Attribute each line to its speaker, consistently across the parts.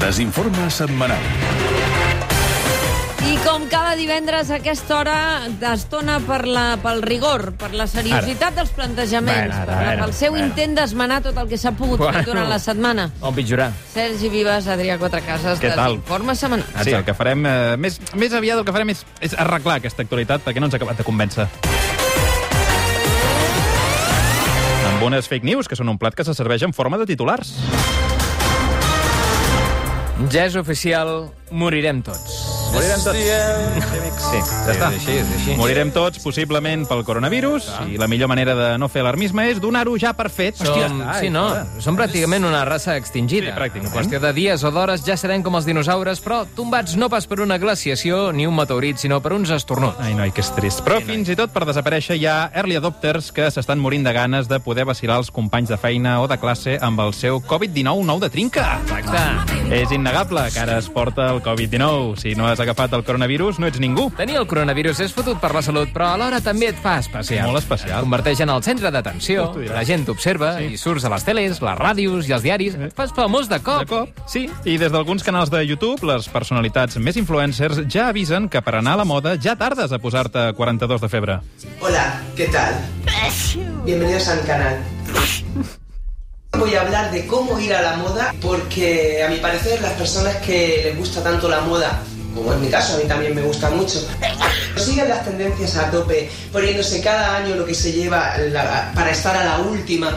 Speaker 1: Desinforme setmanal.
Speaker 2: I com cada divendres a aquesta hora d'estona per la, pel rigor, per la seriositat dels plantejaments,
Speaker 3: Bueno, ara,
Speaker 2: per la-
Speaker 3: bueno,
Speaker 2: pel seu
Speaker 3: bueno.
Speaker 2: intent d'esmenar tot el que s'ha pogut
Speaker 3: Bueno.
Speaker 2: fer durant la setmana.
Speaker 3: O pitjorar.
Speaker 2: Sergi Vives, Adrià Quatrecases,
Speaker 4: Què tal?
Speaker 2: Desinforme Setmanal.
Speaker 4: Sí, el que farem... Eh, més, més aviat el que farem és, és arreglar aquesta actualitat perquè no ens ha acabat de convèncer. Amb unes fake news, que són un plat que se serveix en forma de titulars.
Speaker 3: Ja és oficial, morirem tots.
Speaker 4: Morirem tots. Sí, ja està.
Speaker 5: És així, és així.
Speaker 4: Morirem tots, possiblement, pel coronavirus, i la millor manera de no fer alarmisme és donar-ho ja per fet.
Speaker 3: Som, sí, no, som pràcticament una raça extingida.
Speaker 4: eh, Sí, pràcticament.
Speaker 3: En qüestió de dies o d'hores ja serem com els dinosaures, però tombats no pas per una glaciació ni un meteorit, sinó per uns estornuts.
Speaker 4: Ai, noi, que és trist. Però fins i tot per desaparèixer hi ha early adopters que s'estan morint de ganes de poder vacilar els companys de feina o de classe amb el seu Covid-19 nou de trinca.
Speaker 3: Exacte.
Speaker 4: És innegable que ara es porta el Covid-19. Si no has agafat el coronavirus, no ets ningú.
Speaker 3: Tenir el coronavirus és fotut per la salut, però alhora també et fa especial.
Speaker 4: Molt especial.
Speaker 3: Et converteix en el centre d'atenció,
Speaker 4: Tu ho diràs.
Speaker 3: la gent t'observa sí. i surts a les teles, les ràdios i els diaris. Et fas famós de cop.
Speaker 4: Eh. De cop, sí. I des d'alguns canals de YouTube, les personalitats més influencers ja avisen que per anar a la moda ja tardes a posar-te 42 de febre.
Speaker 6: Hola, ¿qué tal? Bienvenidos a mi canal. Voy a hablar de cómo ir a la moda porque a mi parecer las personas que les gusta tanto la moda, como es mi caso, a mí también me gusta mucho, siguen las tendencias a tope, poniéndose cada año lo que se lleva la- para estar a la última.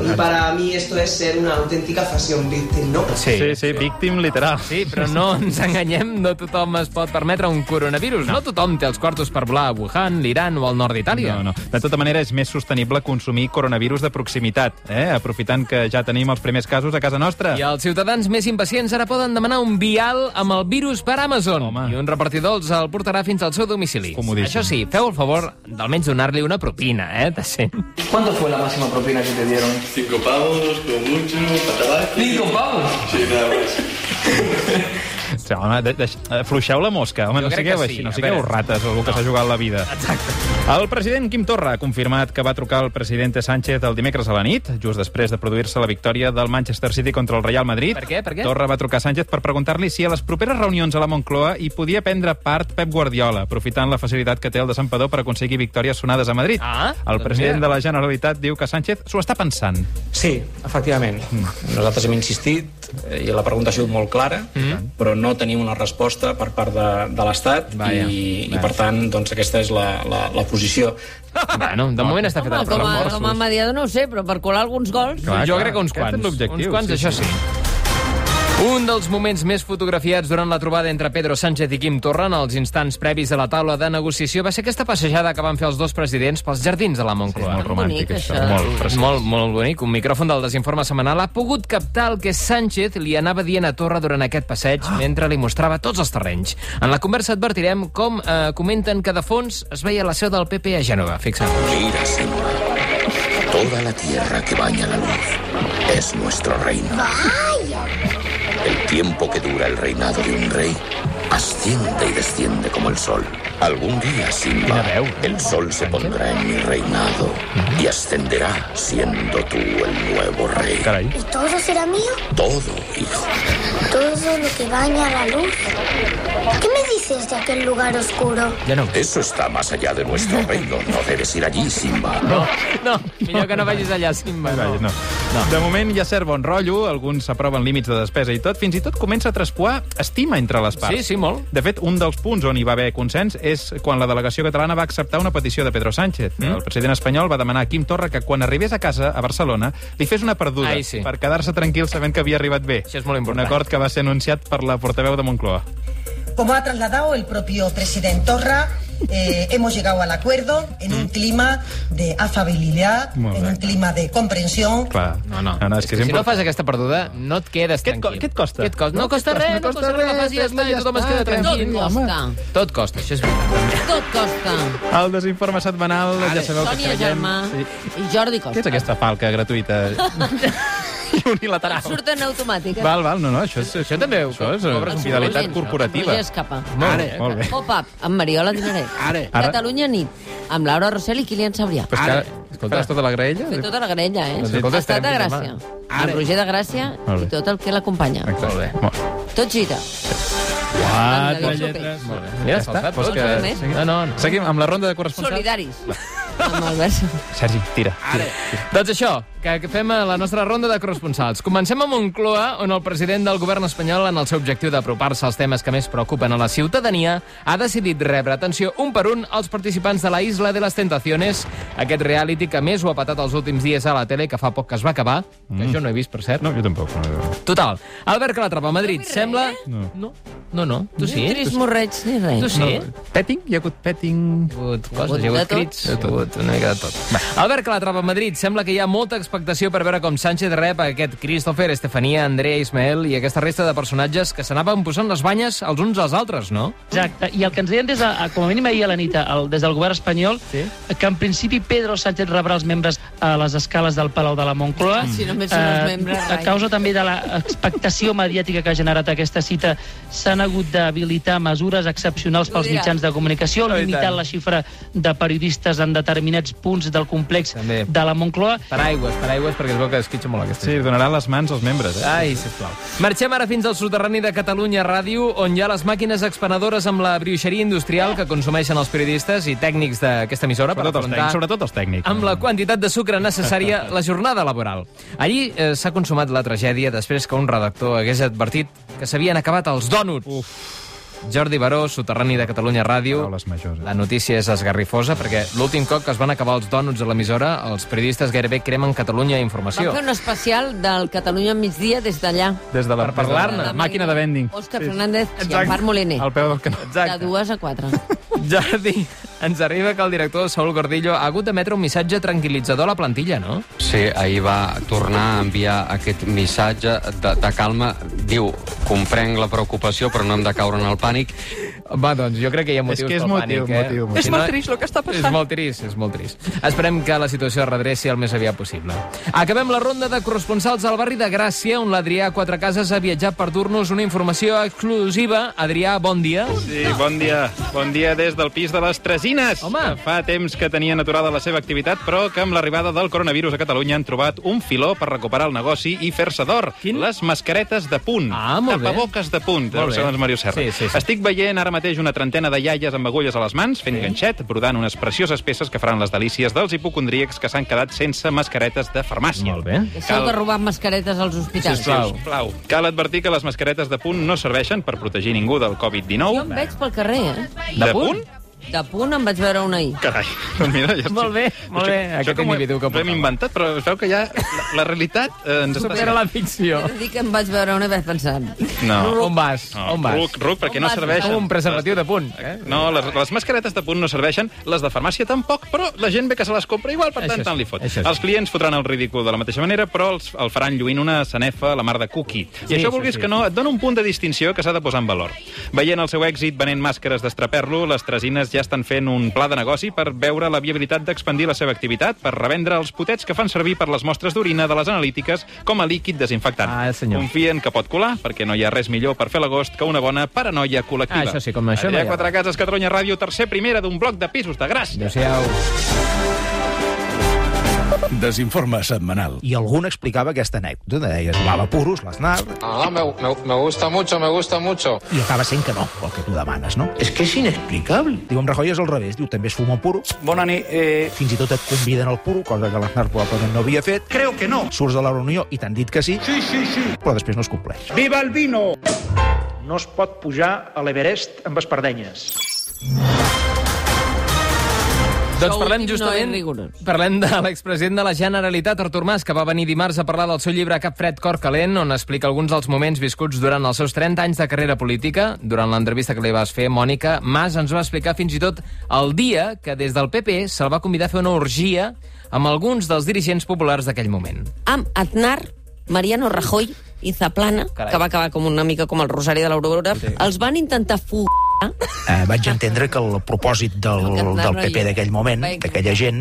Speaker 6: Y para mí esto es ser una auténtica fashion victim, ¿no?
Speaker 4: sí, sí, víctim literal.
Speaker 3: Sí, però no ens enganyem, no tothom es pot permetre un coronavirus. No, no tothom té els quartos per volar a Wuhan, l'Iran o al nord d'Itàlia.
Speaker 4: No, no. De tota manera, és més sostenible consumir coronavirus de proximitat, eh? aprofitant que ja tenim els primers casos a casa nostra.
Speaker 3: I els ciutadans més impacients ara poden demanar un vial amb el virus per Amazon.
Speaker 4: Home.
Speaker 3: I un repartidor els el portarà fins al seu domicili.
Speaker 4: Comodíssim.
Speaker 3: Això sí, feu el favor d'almenys donar-li una propina, eh, decent.
Speaker 7: ¿Cuánto fue la máxima propina que te dieron?
Speaker 8: Cinco pavos, como mucho, para tabaco.
Speaker 7: Cinco pavos.
Speaker 8: Sí, nada más.
Speaker 4: Sí, home, de, de, afluixeu la mosca, home, no
Speaker 3: Jo crec
Speaker 4: sigueu
Speaker 3: que sí.
Speaker 4: així, no
Speaker 3: A
Speaker 4: sigueu
Speaker 3: veure.
Speaker 4: rates, algú que s'ha jugat la vida.
Speaker 3: Exacte.
Speaker 4: El president Quim Torra ha confirmat que va trucar al president Sánchez el dimecres a la nit, just després de produir-se la victòria del Manchester City contra el Real Madrid.
Speaker 3: Per què? Per què?
Speaker 4: Torra va trucar a Sánchez per preguntar-li si a les properes reunions a la Moncloa hi podia prendre part Pep Guardiola, aprofitant la facilitat que té el desempador per aconseguir victòries sonades a Madrid.
Speaker 3: Ah,
Speaker 4: el
Speaker 3: doncs
Speaker 4: president
Speaker 3: mira.
Speaker 4: de la Generalitat diu que Sánchez s'ho està pensant.
Speaker 9: Sí, efectivament. Nosaltres hem insistit eh, i la pregunta ha sigut molt clara, però no tenim una resposta per part de, de l'Estat
Speaker 3: Vaja,
Speaker 9: i, i, per tant, doncs, aquesta és la, la, la posició.
Speaker 3: Bueno, de moment està fet
Speaker 2: Home,
Speaker 3: el
Speaker 2: com, a,
Speaker 3: remor.
Speaker 2: com a mediador no ho sé, però per colar alguns gols...
Speaker 4: Clar,
Speaker 3: jo
Speaker 4: clar,
Speaker 3: crec que uns
Speaker 4: aquest és
Speaker 3: quants.
Speaker 4: l'objectiu,
Speaker 3: Uns quants,
Speaker 4: sí,
Speaker 3: això
Speaker 4: sí.
Speaker 3: sí. Un dels moments més fotografiats durant la trobada entre Pedro Sánchez i Quim Torra en els instants previs a la taula de negociació va ser aquesta passejada que van fer els dos presidents pels jardins de la Moncloa.
Speaker 4: molt romàntic,
Speaker 2: bonic,
Speaker 4: això.
Speaker 2: això.
Speaker 4: Molt preciós.
Speaker 3: molt, molt bonic. Un micròfon del Desinforme Setmanal ha pogut captar el que Sánchez li anava dient a Torra durant aquest passeig mentre li mostrava tots els terrenys. En la conversa advertirem com eh, comenten que de fons es veia la seu del PP a Gènova. Fixa't.
Speaker 10: Mira, Señor. Toda la tierra que baña la luz es nuestro reino. El tiempo que dura el reinado de un rey asciende y desciende como el sol. Algún día, Simba, el sol se pondrá en mi reinado y ascenderá siendo tú el nuevo rey.
Speaker 4: Carai.
Speaker 11: ¿Y todo será mío?
Speaker 10: Todo, hijo.
Speaker 11: Todo lo que baña la luz. ¿Qué me dices de aquel lugar oscuro?
Speaker 3: Ja no.
Speaker 10: Eso está más allá de nuestro reino. No debes ir allí, Simba.
Speaker 3: No, millor que no vagis allà, Simba.
Speaker 4: Vaja,
Speaker 3: No.
Speaker 4: no. No. De moment hi ha cert bon rotllo, alguns s'aproven límits de despesa i tot, fins i tot comença a traspoar estima entre les parts.
Speaker 3: Sí, sí, molt.
Speaker 4: De fet, un dels punts on hi va haver consens és quan la delegació catalana va acceptar una petició de Pedro Sánchez. Mm? El president espanyol va demanar a Quim Torra que quan arribés a casa, a Barcelona, li fes una perduda
Speaker 3: Ai, sí.
Speaker 4: per quedar-se tranquil sabent que havia arribat bé.
Speaker 3: Això és molt important.
Speaker 4: Un acord que va ser anunciat per la portaveu de Moncloa.
Speaker 6: Como ha trasladado el propio presidente Torra, eh, hemos llegado al acuerdo en un clima de afabilidad,
Speaker 4: Molt
Speaker 6: en
Speaker 4: bé.
Speaker 6: un clima de comprensión.
Speaker 4: Clar.
Speaker 3: No, no.
Speaker 4: no és que és
Speaker 3: si no
Speaker 4: important.
Speaker 3: fas aquesta perduda, no et quedes
Speaker 4: Què et co-
Speaker 3: tranquil.
Speaker 4: què et costa?
Speaker 3: Què et costa? No,
Speaker 4: No,
Speaker 3: costa
Speaker 4: què et
Speaker 3: res, no costa res, la fas i ja està, i
Speaker 4: ja
Speaker 3: tothom es
Speaker 4: està,
Speaker 3: queda
Speaker 4: tranquil.
Speaker 2: Tot
Speaker 3: tranquil.
Speaker 2: costa,
Speaker 3: Tot costa, això és veritat.
Speaker 2: tot costa.
Speaker 4: El desinforme setmanal, ja sabeu que
Speaker 2: Sònia
Speaker 4: creiem...
Speaker 2: Germà
Speaker 4: Sí.
Speaker 2: i Jordi
Speaker 4: Què és
Speaker 2: Costa.
Speaker 4: aquesta falca gratuïta? unilateral.
Speaker 2: Surt en automàtic. eh?
Speaker 4: Val, val, no, no, això, és,
Speaker 3: Això també ho
Speaker 4: això és eh,
Speaker 3: cobres un
Speaker 4: fidelitat
Speaker 2: Gens,
Speaker 4: corporativa.
Speaker 2: Roger Escapa.
Speaker 3: Molt
Speaker 4: Ara,
Speaker 3: bé.
Speaker 4: molt bé.
Speaker 2: Pop-up, amb Mariola Dinarès.
Speaker 1: Ara. Ah,
Speaker 4: Ara.
Speaker 2: Catalunya nit, amb Laura Rossell i Kilian Sabrià.
Speaker 4: Però és
Speaker 1: Ara.
Speaker 4: que, escolta, faràs tota la graella?
Speaker 2: Fer tota la grella, eh?
Speaker 4: Doncs escolta,
Speaker 2: Estat de
Speaker 4: estarem fins
Speaker 2: Gràcia.
Speaker 1: Ara.
Speaker 2: Amb Roger de Gràcia
Speaker 4: Molt bé.
Speaker 2: i tot el que l'acompanya.
Speaker 4: Molt bé.
Speaker 2: Tot gira.
Speaker 4: Ah,
Speaker 1: Quatre
Speaker 2: Amb la
Speaker 1: lletres.
Speaker 3: Molt bé. Mira,
Speaker 4: Ja està,
Speaker 3: saltat
Speaker 4: vols
Speaker 3: tot.
Speaker 4: que-
Speaker 2: No sé més.
Speaker 3: eh? No, no, no.
Speaker 4: Seguim amb la ronda de corresponsals.
Speaker 2: Solidaris. Amb el vers.
Speaker 4: Sergi, tira. tira.
Speaker 3: Doncs això, que fem la nostra ronda de corresponsals. Comencem a Moncloa, on el president del govern espanyol, en el seu objectiu d'apropar-se als temes que més preocupen a la ciutadania, ha decidit rebre, atenció, un per un, els participants de la Isla de les Tentaciones, aquest reality que més ho ha patat els últims dies a la tele, que fa poc que es va acabar,
Speaker 4: Mm.
Speaker 3: que jo no he vist, per cert.
Speaker 4: No, jo tampoc. No.
Speaker 3: Total, Albert Calatrava, a Madrid,
Speaker 2: No he vist
Speaker 3: sembla...
Speaker 2: res, eh?
Speaker 3: No, no, no, no. tu sí.
Speaker 2: Ni
Speaker 3: tu sí.
Speaker 2: trismorreig ni res.
Speaker 3: Tu sí.
Speaker 4: Petting? Hi ha hagut petting?
Speaker 3: Hi ha hagut
Speaker 2: hagut
Speaker 3: coses, hi ha
Speaker 2: de
Speaker 3: hagut
Speaker 2: tot.
Speaker 3: crits, hi ha hagut una mica de tot. Va. Albert Calatrava, a Madrid, sembla que hi ha molta expectació per veure com Sánchez rep aquest Christopher, Estefania, Andrea, Ismael i aquesta resta de personatges que s'anaven posant les banyes els uns als altres, no?
Speaker 7: Exacte, i el que ens deien des de, com a mínim ahir a la nit el, des del govern espanyol, sí? que en principi Pedro Sánchez rebrà els membres a les escales del Palau de la Moncloa.
Speaker 2: Ah, si només són els membres,
Speaker 7: a
Speaker 2: rai.
Speaker 7: causa també de l'expectació mediàtica que ha generat aquesta cita, s'han hagut d'habilitar mesures excepcionals pels
Speaker 2: Ho dirà.
Speaker 7: mitjans de comunicació,
Speaker 4: Oh, i
Speaker 7: limitant
Speaker 4: tant.
Speaker 7: la xifra de periodistes en determinats punts del complex
Speaker 3: També.
Speaker 7: de la Moncloa.
Speaker 3: Paraigües, paraigües, perquè es veu que esquitxa molt aquesta
Speaker 4: Sí, donaran les mans als membres. Eh?
Speaker 3: Ai, sisplau. Marxem ara fins al soterrani de Catalunya Ràdio, on hi ha les màquines expenedores amb la brioixeria industrial que consumeixen els periodistes i tècnics d'aquesta emissora per
Speaker 4: Sobretot els,
Speaker 3: afrontar
Speaker 4: tècnics, sobretot els tècnics.
Speaker 3: amb la quantitat de sucre necessària la jornada laboral. Allí eh, s'ha consumat la tragèdia després que un redactor hagués advertit que s'havien acabat els dònuts. Uf. Jordi Baró, soterrani de Catalunya Ràdio.
Speaker 4: Paraules majors, eh?
Speaker 3: La notícia és esgarrifosa perquè l'últim cop que es van acabar els dònuts a l'emissora, els periodistes gairebé cremen Catalunya
Speaker 2: Vam
Speaker 3: Informació.
Speaker 2: fer un especial del Catalunya al migdia des d'allà.
Speaker 4: Des de la,
Speaker 3: Per parlar-ne.
Speaker 4: des de la Màquina de vending.
Speaker 2: Òscar Fernández i en Marc Moliner.
Speaker 4: Al peu del canó.
Speaker 2: De dues a quatre.
Speaker 3: Jordi, ens arriba que el director Saúl Gordillo ha hagut d'emetre un missatge tranquil·litzador a la plantilla, no?
Speaker 9: Sí, ahir va tornar a enviar aquest missatge de, de calma. Diu, comprenc la preocupació, però no hem de caure en el pànic.
Speaker 3: Va, doncs jo crec que hi ha motius
Speaker 4: que és
Speaker 3: pel
Speaker 4: motiu,
Speaker 3: pànic, eh?
Speaker 4: motiu, motiu.
Speaker 3: És molt trist el que està passant. És molt trist, és molt trist. Esperem que la situació es redreci el més aviat possible. Acabem la ronda de corresponsals al barri de Gràcia, on l'Adrià Quatre Cases ha viatjat per dur-nos una informació exclusiva. Adrià, bon dia.
Speaker 4: Sí, bon dia. Bon dia des del pis de les Tresines.
Speaker 3: Home.
Speaker 4: Que Fa temps que tenien aturada la seva activitat, però que amb l'arribada del coronavirus a Catalunya han trobat un filó per recuperar el negoci i fer-se d'or.
Speaker 3: Quin?
Speaker 4: Les mascaretes de punt.
Speaker 3: Ah, molt bé.
Speaker 4: Tapaboques de punt,
Speaker 3: Molt bé.
Speaker 4: segons Mario Serra.
Speaker 3: Sí, sí, sí.
Speaker 4: Estic veient ara mateix una trentena de iaies amb agulles a les mans, fent sí. ganxet, brodant unes precioses peces que faran les delícies dels hipocondríacs que s'han quedat sense mascaretes de farmàcia.
Speaker 3: Molt bé.
Speaker 2: Deixeu de robar mascaretes als hospitals.
Speaker 3: Sisplau.
Speaker 4: Sisplau. Sisplau. Cal advertir que les mascaretes de punt no serveixen per protegir ningú del
Speaker 2: Jo
Speaker 4: Covid-19.
Speaker 2: em veig pel carrer, eh?
Speaker 4: De punt?
Speaker 2: De punt en vaig veure una ahir.
Speaker 4: Carai, doncs mira, ja estic.
Speaker 3: Molt bé, molt bé,
Speaker 4: Això,
Speaker 3: aquest
Speaker 4: això com ho,
Speaker 3: individu que
Speaker 4: ho hem
Speaker 3: portava.
Speaker 4: inventat, però es veu que ja la, la realitat eh, ens està...
Speaker 3: Supera la ficció.
Speaker 2: He de dir que em vaig veure una i vaig pensar...
Speaker 4: No.
Speaker 3: On vas?
Speaker 4: No,
Speaker 3: On vas?
Speaker 4: Ruc, ruc, perquè
Speaker 2: On
Speaker 4: no
Speaker 2: vas?
Speaker 4: serveixen.
Speaker 3: Un preservatiu de punt, eh?
Speaker 4: No, les, les mascaretes de punt no serveixen, les de farmàcia tampoc, però la gent ve que se les compra igual, per
Speaker 3: Això
Speaker 4: tant,
Speaker 3: sí,
Speaker 4: tant li fot.
Speaker 3: això sí.
Speaker 4: Els clients fotran el ridícul de la mateixa manera, però els, el faran lluint una sanefa a la mar de cookie. I
Speaker 3: Sí,
Speaker 4: això,
Speaker 3: sí,
Speaker 4: vulguis
Speaker 3: sí.
Speaker 4: que no, et dona un punt de distinció que s'ha de posar en valor. Veient el seu èxit venent màscares d'estraperlo, les tresines ja estan fent un pla de negoci per veure la viabilitat d'expandir la seva activitat per revendre els potets que fan servir per les mostres d'orina de les analítiques com a líquid desinfectant.
Speaker 3: Ah, senyor.
Speaker 4: Confien que pot colar, perquè no hi ha res millor per fer l'agost que una bona paranoia col·lectiva.
Speaker 3: Ah, això sí, com això no
Speaker 4: Adrià
Speaker 3: hi ha
Speaker 4: Quatre Cases, Catalunya Ràdio, tercer primera d'un bloc de pisos de Gràcia.
Speaker 3: Adéu-siau.
Speaker 1: Desinforme setmanal. I algun explicava aquesta anècdota. Deia, jugava a puros, l'Aznar,
Speaker 9: Ah, me, me, me gusta mucho, me gusta mucho.
Speaker 1: i acaba sent que no, el que tu demanes, no?
Speaker 9: Es que es inexplicable.
Speaker 1: Diu, amb Rajoy és al revés. Diu, també es fuma un puro.
Speaker 8: Bona nit. Eh...
Speaker 1: Fins i tot et conviden al puro, cosa que l'Aznar probablement no havia fet.
Speaker 8: Creo que no.
Speaker 1: Surts de la reunió i t'han dit que sí,
Speaker 8: Sí, sí, sí.
Speaker 1: però després no es compleix.
Speaker 8: Viva el vino!
Speaker 5: No es pot pujar a l'Everest amb espardenyes.
Speaker 3: Doncs
Speaker 2: Això
Speaker 3: parlem
Speaker 2: últim no
Speaker 3: justament...
Speaker 2: és rigorós.
Speaker 3: parlem de l'expresident de la Generalitat, Artur Mas, que va venir dimarts a parlar del seu llibre Cap fred, cor calent, on explica alguns dels moments viscuts durant els seus 30 anys de carrera política. Durant l'entrevista que li vas fer, Mònica, Mas ens va explicar fins i tot el dia que des del PP se'l va convidar a fer una orgia amb alguns dels dirigents populars d'aquell moment.
Speaker 2: Amb Aznar, Mariano Rajoy i Zaplana,
Speaker 3: Carai.
Speaker 2: que va acabar com una mica com el Rosari de l'Aurora, sí. els van intentar fugar
Speaker 1: Eh, vaig entendre que el propòsit del,
Speaker 2: El Aznar
Speaker 1: del
Speaker 2: no hi
Speaker 1: PP
Speaker 2: era.
Speaker 1: d'aquell moment,
Speaker 2: Vaja.
Speaker 1: d'aquella gent,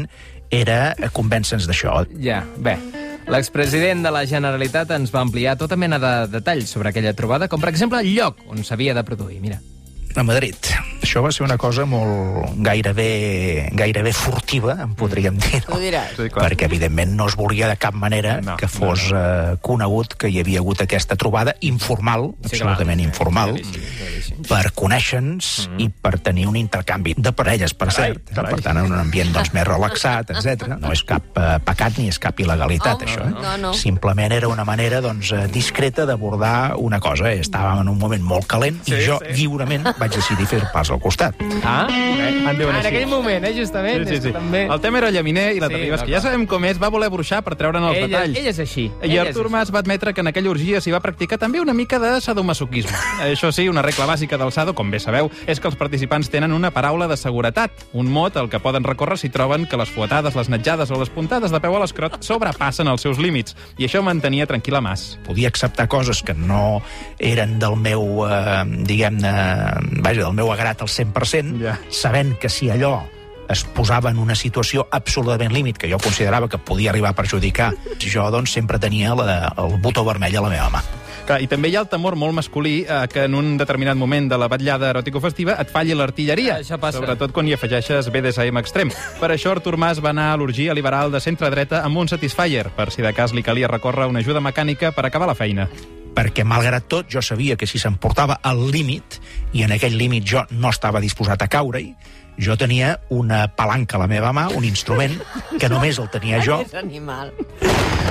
Speaker 1: era eh, convèncer-nos d'això.
Speaker 3: Ja, bé. L'expresident de la Generalitat ens va ampliar tota mena de detalls sobre aquella trobada, com per exemple el lloc on s'havia de produir. Mira.
Speaker 1: a Madrid. Això va ser una cosa molt gairebé, gairebé furtiva, en podríem dir. No? Sí, Perquè, evidentment, no es volia de cap manera no, que fos no, no. Eh, conegut que hi havia hagut aquesta trobada informal, sí, absolutament clar, informal, sí, sí, per conèixer-nos mm. i per tenir un intercanvi de parelles, per carai, cert. Carai. Per tant, en un ambient doncs, més relaxat, etc. No és cap eh, pecat ni és cap il·legalitat,
Speaker 2: Oh,
Speaker 1: això. eh?
Speaker 2: no, no, no.
Speaker 1: Simplement era una manera doncs, eh, discreta d'abordar una cosa. Estàvem en un moment molt calent sí, i jo, sí. lliurement, vaig decidir fer pas al costat.
Speaker 3: Ah?
Speaker 4: En diuen
Speaker 3: en
Speaker 4: així.
Speaker 3: aquell moment, eh, justament.
Speaker 4: Sí, sí,
Speaker 3: és
Speaker 4: sí.
Speaker 3: que També...
Speaker 4: El tema era llaminer i la
Speaker 3: Sí,
Speaker 4: sí, Terribas, que
Speaker 3: d'acord.
Speaker 4: ja sabem com és, va voler bruixar per treure'n els
Speaker 3: Ella-
Speaker 4: detalls.
Speaker 3: ella és així,
Speaker 4: I
Speaker 3: ella és
Speaker 4: Artur
Speaker 3: així.
Speaker 4: Mas va admetre que en aquella orgia s'hi va practicar també una mica de sadomasoquisme. Això sí, una regla bàsica del sado, com bé sabeu, és que els participants tenen una paraula de seguretat, un mot al que poden recórrer si troben que les fuetades, les netjades o les puntades de peu a l'escrot sobrepassen els seus límits. I això mantenia tranquil a Mas.
Speaker 1: podia acceptar coses que no eren del meu, eh, diguem-ne, vaja, del meu agrat al 100%, yeah. sabent que si allò es posava en una situació absolutament límit, que jo considerava que podia arribar a perjudicar, jo doncs sempre tenia la, el botó vermell a la meva mà.
Speaker 4: Clar, I també hi ha el temor molt masculí eh, que en un determinat moment de la batllada eròtico-festiva et falli l'artilleria, sobretot quan hi afegeixes BDSM extrem. Per això Artur Mas va anar a l'orgia liberal de centre-dreta amb un Satisfyer, per si de cas li calia recórrer a una ajuda mecànica per acabar la feina.
Speaker 1: perquè malgrat tot jo sabia que si se'm portava al límit i en aquell límit jo no estava disposat a caure-hi, jo tenia una palanca a la meva mà, un instrument que només el tenia jo
Speaker 2: És animal.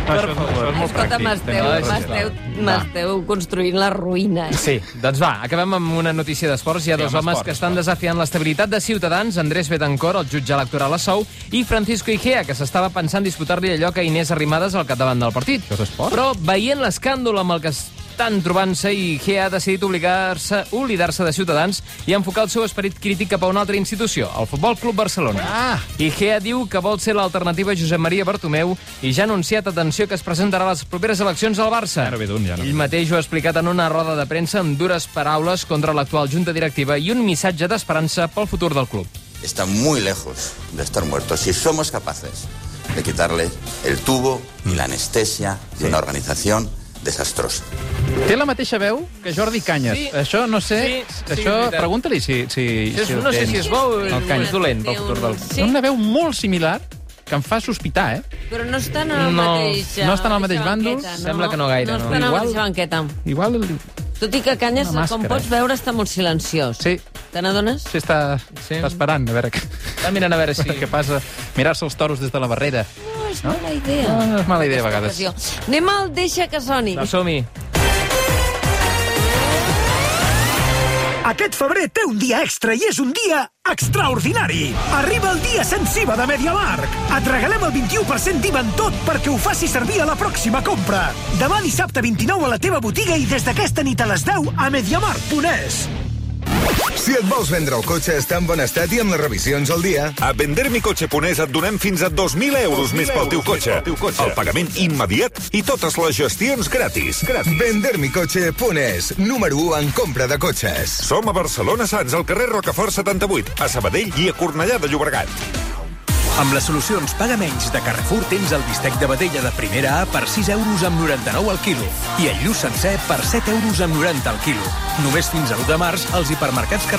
Speaker 4: Això és, això és molt
Speaker 2: Escolta,
Speaker 4: pràctic.
Speaker 2: m'esteu-
Speaker 3: Tens raó.
Speaker 2: m'esteu m'esteu construint la ruïna. eh?
Speaker 3: Sí, doncs va, acabem amb una notícia d'esports. Hi ha
Speaker 4: Sí,
Speaker 3: dos
Speaker 4: amb
Speaker 3: homes
Speaker 4: esports,
Speaker 3: que estan desafiant l'estabilitat de Ciutadans, Andrés Betancourt, el jutge electoral a Sou, i Francisco Igea, que s'estava pensant disputar-li allò que Inés Arrimadas al capdavant del partit. Però veient l'escàndol amb el que estan trobant-se, Igea ha decidit obligar-se oblidar-se de Ciutadans i enfocar el seu esperit crític cap a una altra institució, el Futbol Club Barcelona. Ah. Igea diu que vol ser l'alternativa a Josep Maria Bartomeu i ja ha anunciat, atenció, que es presentarà a les properes eleccions al Barça.
Speaker 4: Ara ve d'un, ja, no?
Speaker 3: Ell mateix ho ha explicat en una roda de premsa amb dures paraules contra l'actual junta directiva i un missatge d'esperança pel futur del club.
Speaker 12: está muy lejos de estar muerto. Si somos capaces de quitarle el tubo y la anestesia de una organización desastrosa.
Speaker 4: Té la mateixa veu que Jordi Canyes.
Speaker 3: Sí.
Speaker 4: Això no sé...
Speaker 3: Sí, sí,
Speaker 4: això
Speaker 3: és veritat.
Speaker 4: pregunta-li si, si,
Speaker 3: És- no sé si és bo o
Speaker 4: el
Speaker 3: és
Speaker 4: Canyes.
Speaker 3: dolent pel futur del club.
Speaker 4: Té una veu molt similar que em fa sospitar, eh?
Speaker 2: Però no estan en el
Speaker 4: No,
Speaker 2: mateix...
Speaker 4: no estan al mateix
Speaker 2: mateixa
Speaker 4: bàndol?
Speaker 2: banqueta,
Speaker 4: Sembla que no gaire,
Speaker 2: No
Speaker 4: no.
Speaker 2: estan a la
Speaker 4: Igual-
Speaker 2: mateixa banqueta.
Speaker 4: Igual...
Speaker 2: Tot i que Canyes,
Speaker 4: Una
Speaker 2: com
Speaker 4: màscara,
Speaker 2: pots
Speaker 4: eh?
Speaker 2: veure, està molt silenciós.
Speaker 4: Sí.
Speaker 2: Te n'adones?
Speaker 4: Sí, està, sí. està esperant, a veure què...
Speaker 3: Està mirant a veure si...
Speaker 4: Què passa? Mirar-se els toros des de la barrera.
Speaker 2: No, és mala idea.
Speaker 4: No és mala idea, a vegades. Doncs
Speaker 2: Ocasió. Anem al Deixa que soni.
Speaker 3: No, som-hi.
Speaker 13: Aquest febrer té un dia extra i és un dia extraordinari. Arriba el dia sensiva de MediaMarkt.
Speaker 14: Ah,
Speaker 13: Et regalem el 21% d'IVA en tot perquè ho faci servir a la pròxima compra. Demà dissabte 29 a la teva botiga i des d'aquesta nit a les 10 a MediaMarkt.es.
Speaker 15: Si et vols vendre el cotxe, està en bon estat i amb les revisions al dia.
Speaker 14: A Vender Mi Cotxe Ponés et donem fins a 2.000 euros més pel teu cotxe. El pagament immediat i totes les gestions gratis. gratis.
Speaker 15: Vender mi cotxe Punes, número 1 en compra de cotxes.
Speaker 14: Som a Barcelona Sants, al carrer Rocafort 78, a Sabadell i a Cornellà de Llobregat.
Speaker 16: Amb les solucions Paga Menys de Carrefour tens el bistec de vedella de primera A per 6 euros amb 99 al quilo i el lluç sencer per 7 euros amb 90 al quilo. Només fins a l'1 de març als hipermercats Carrefour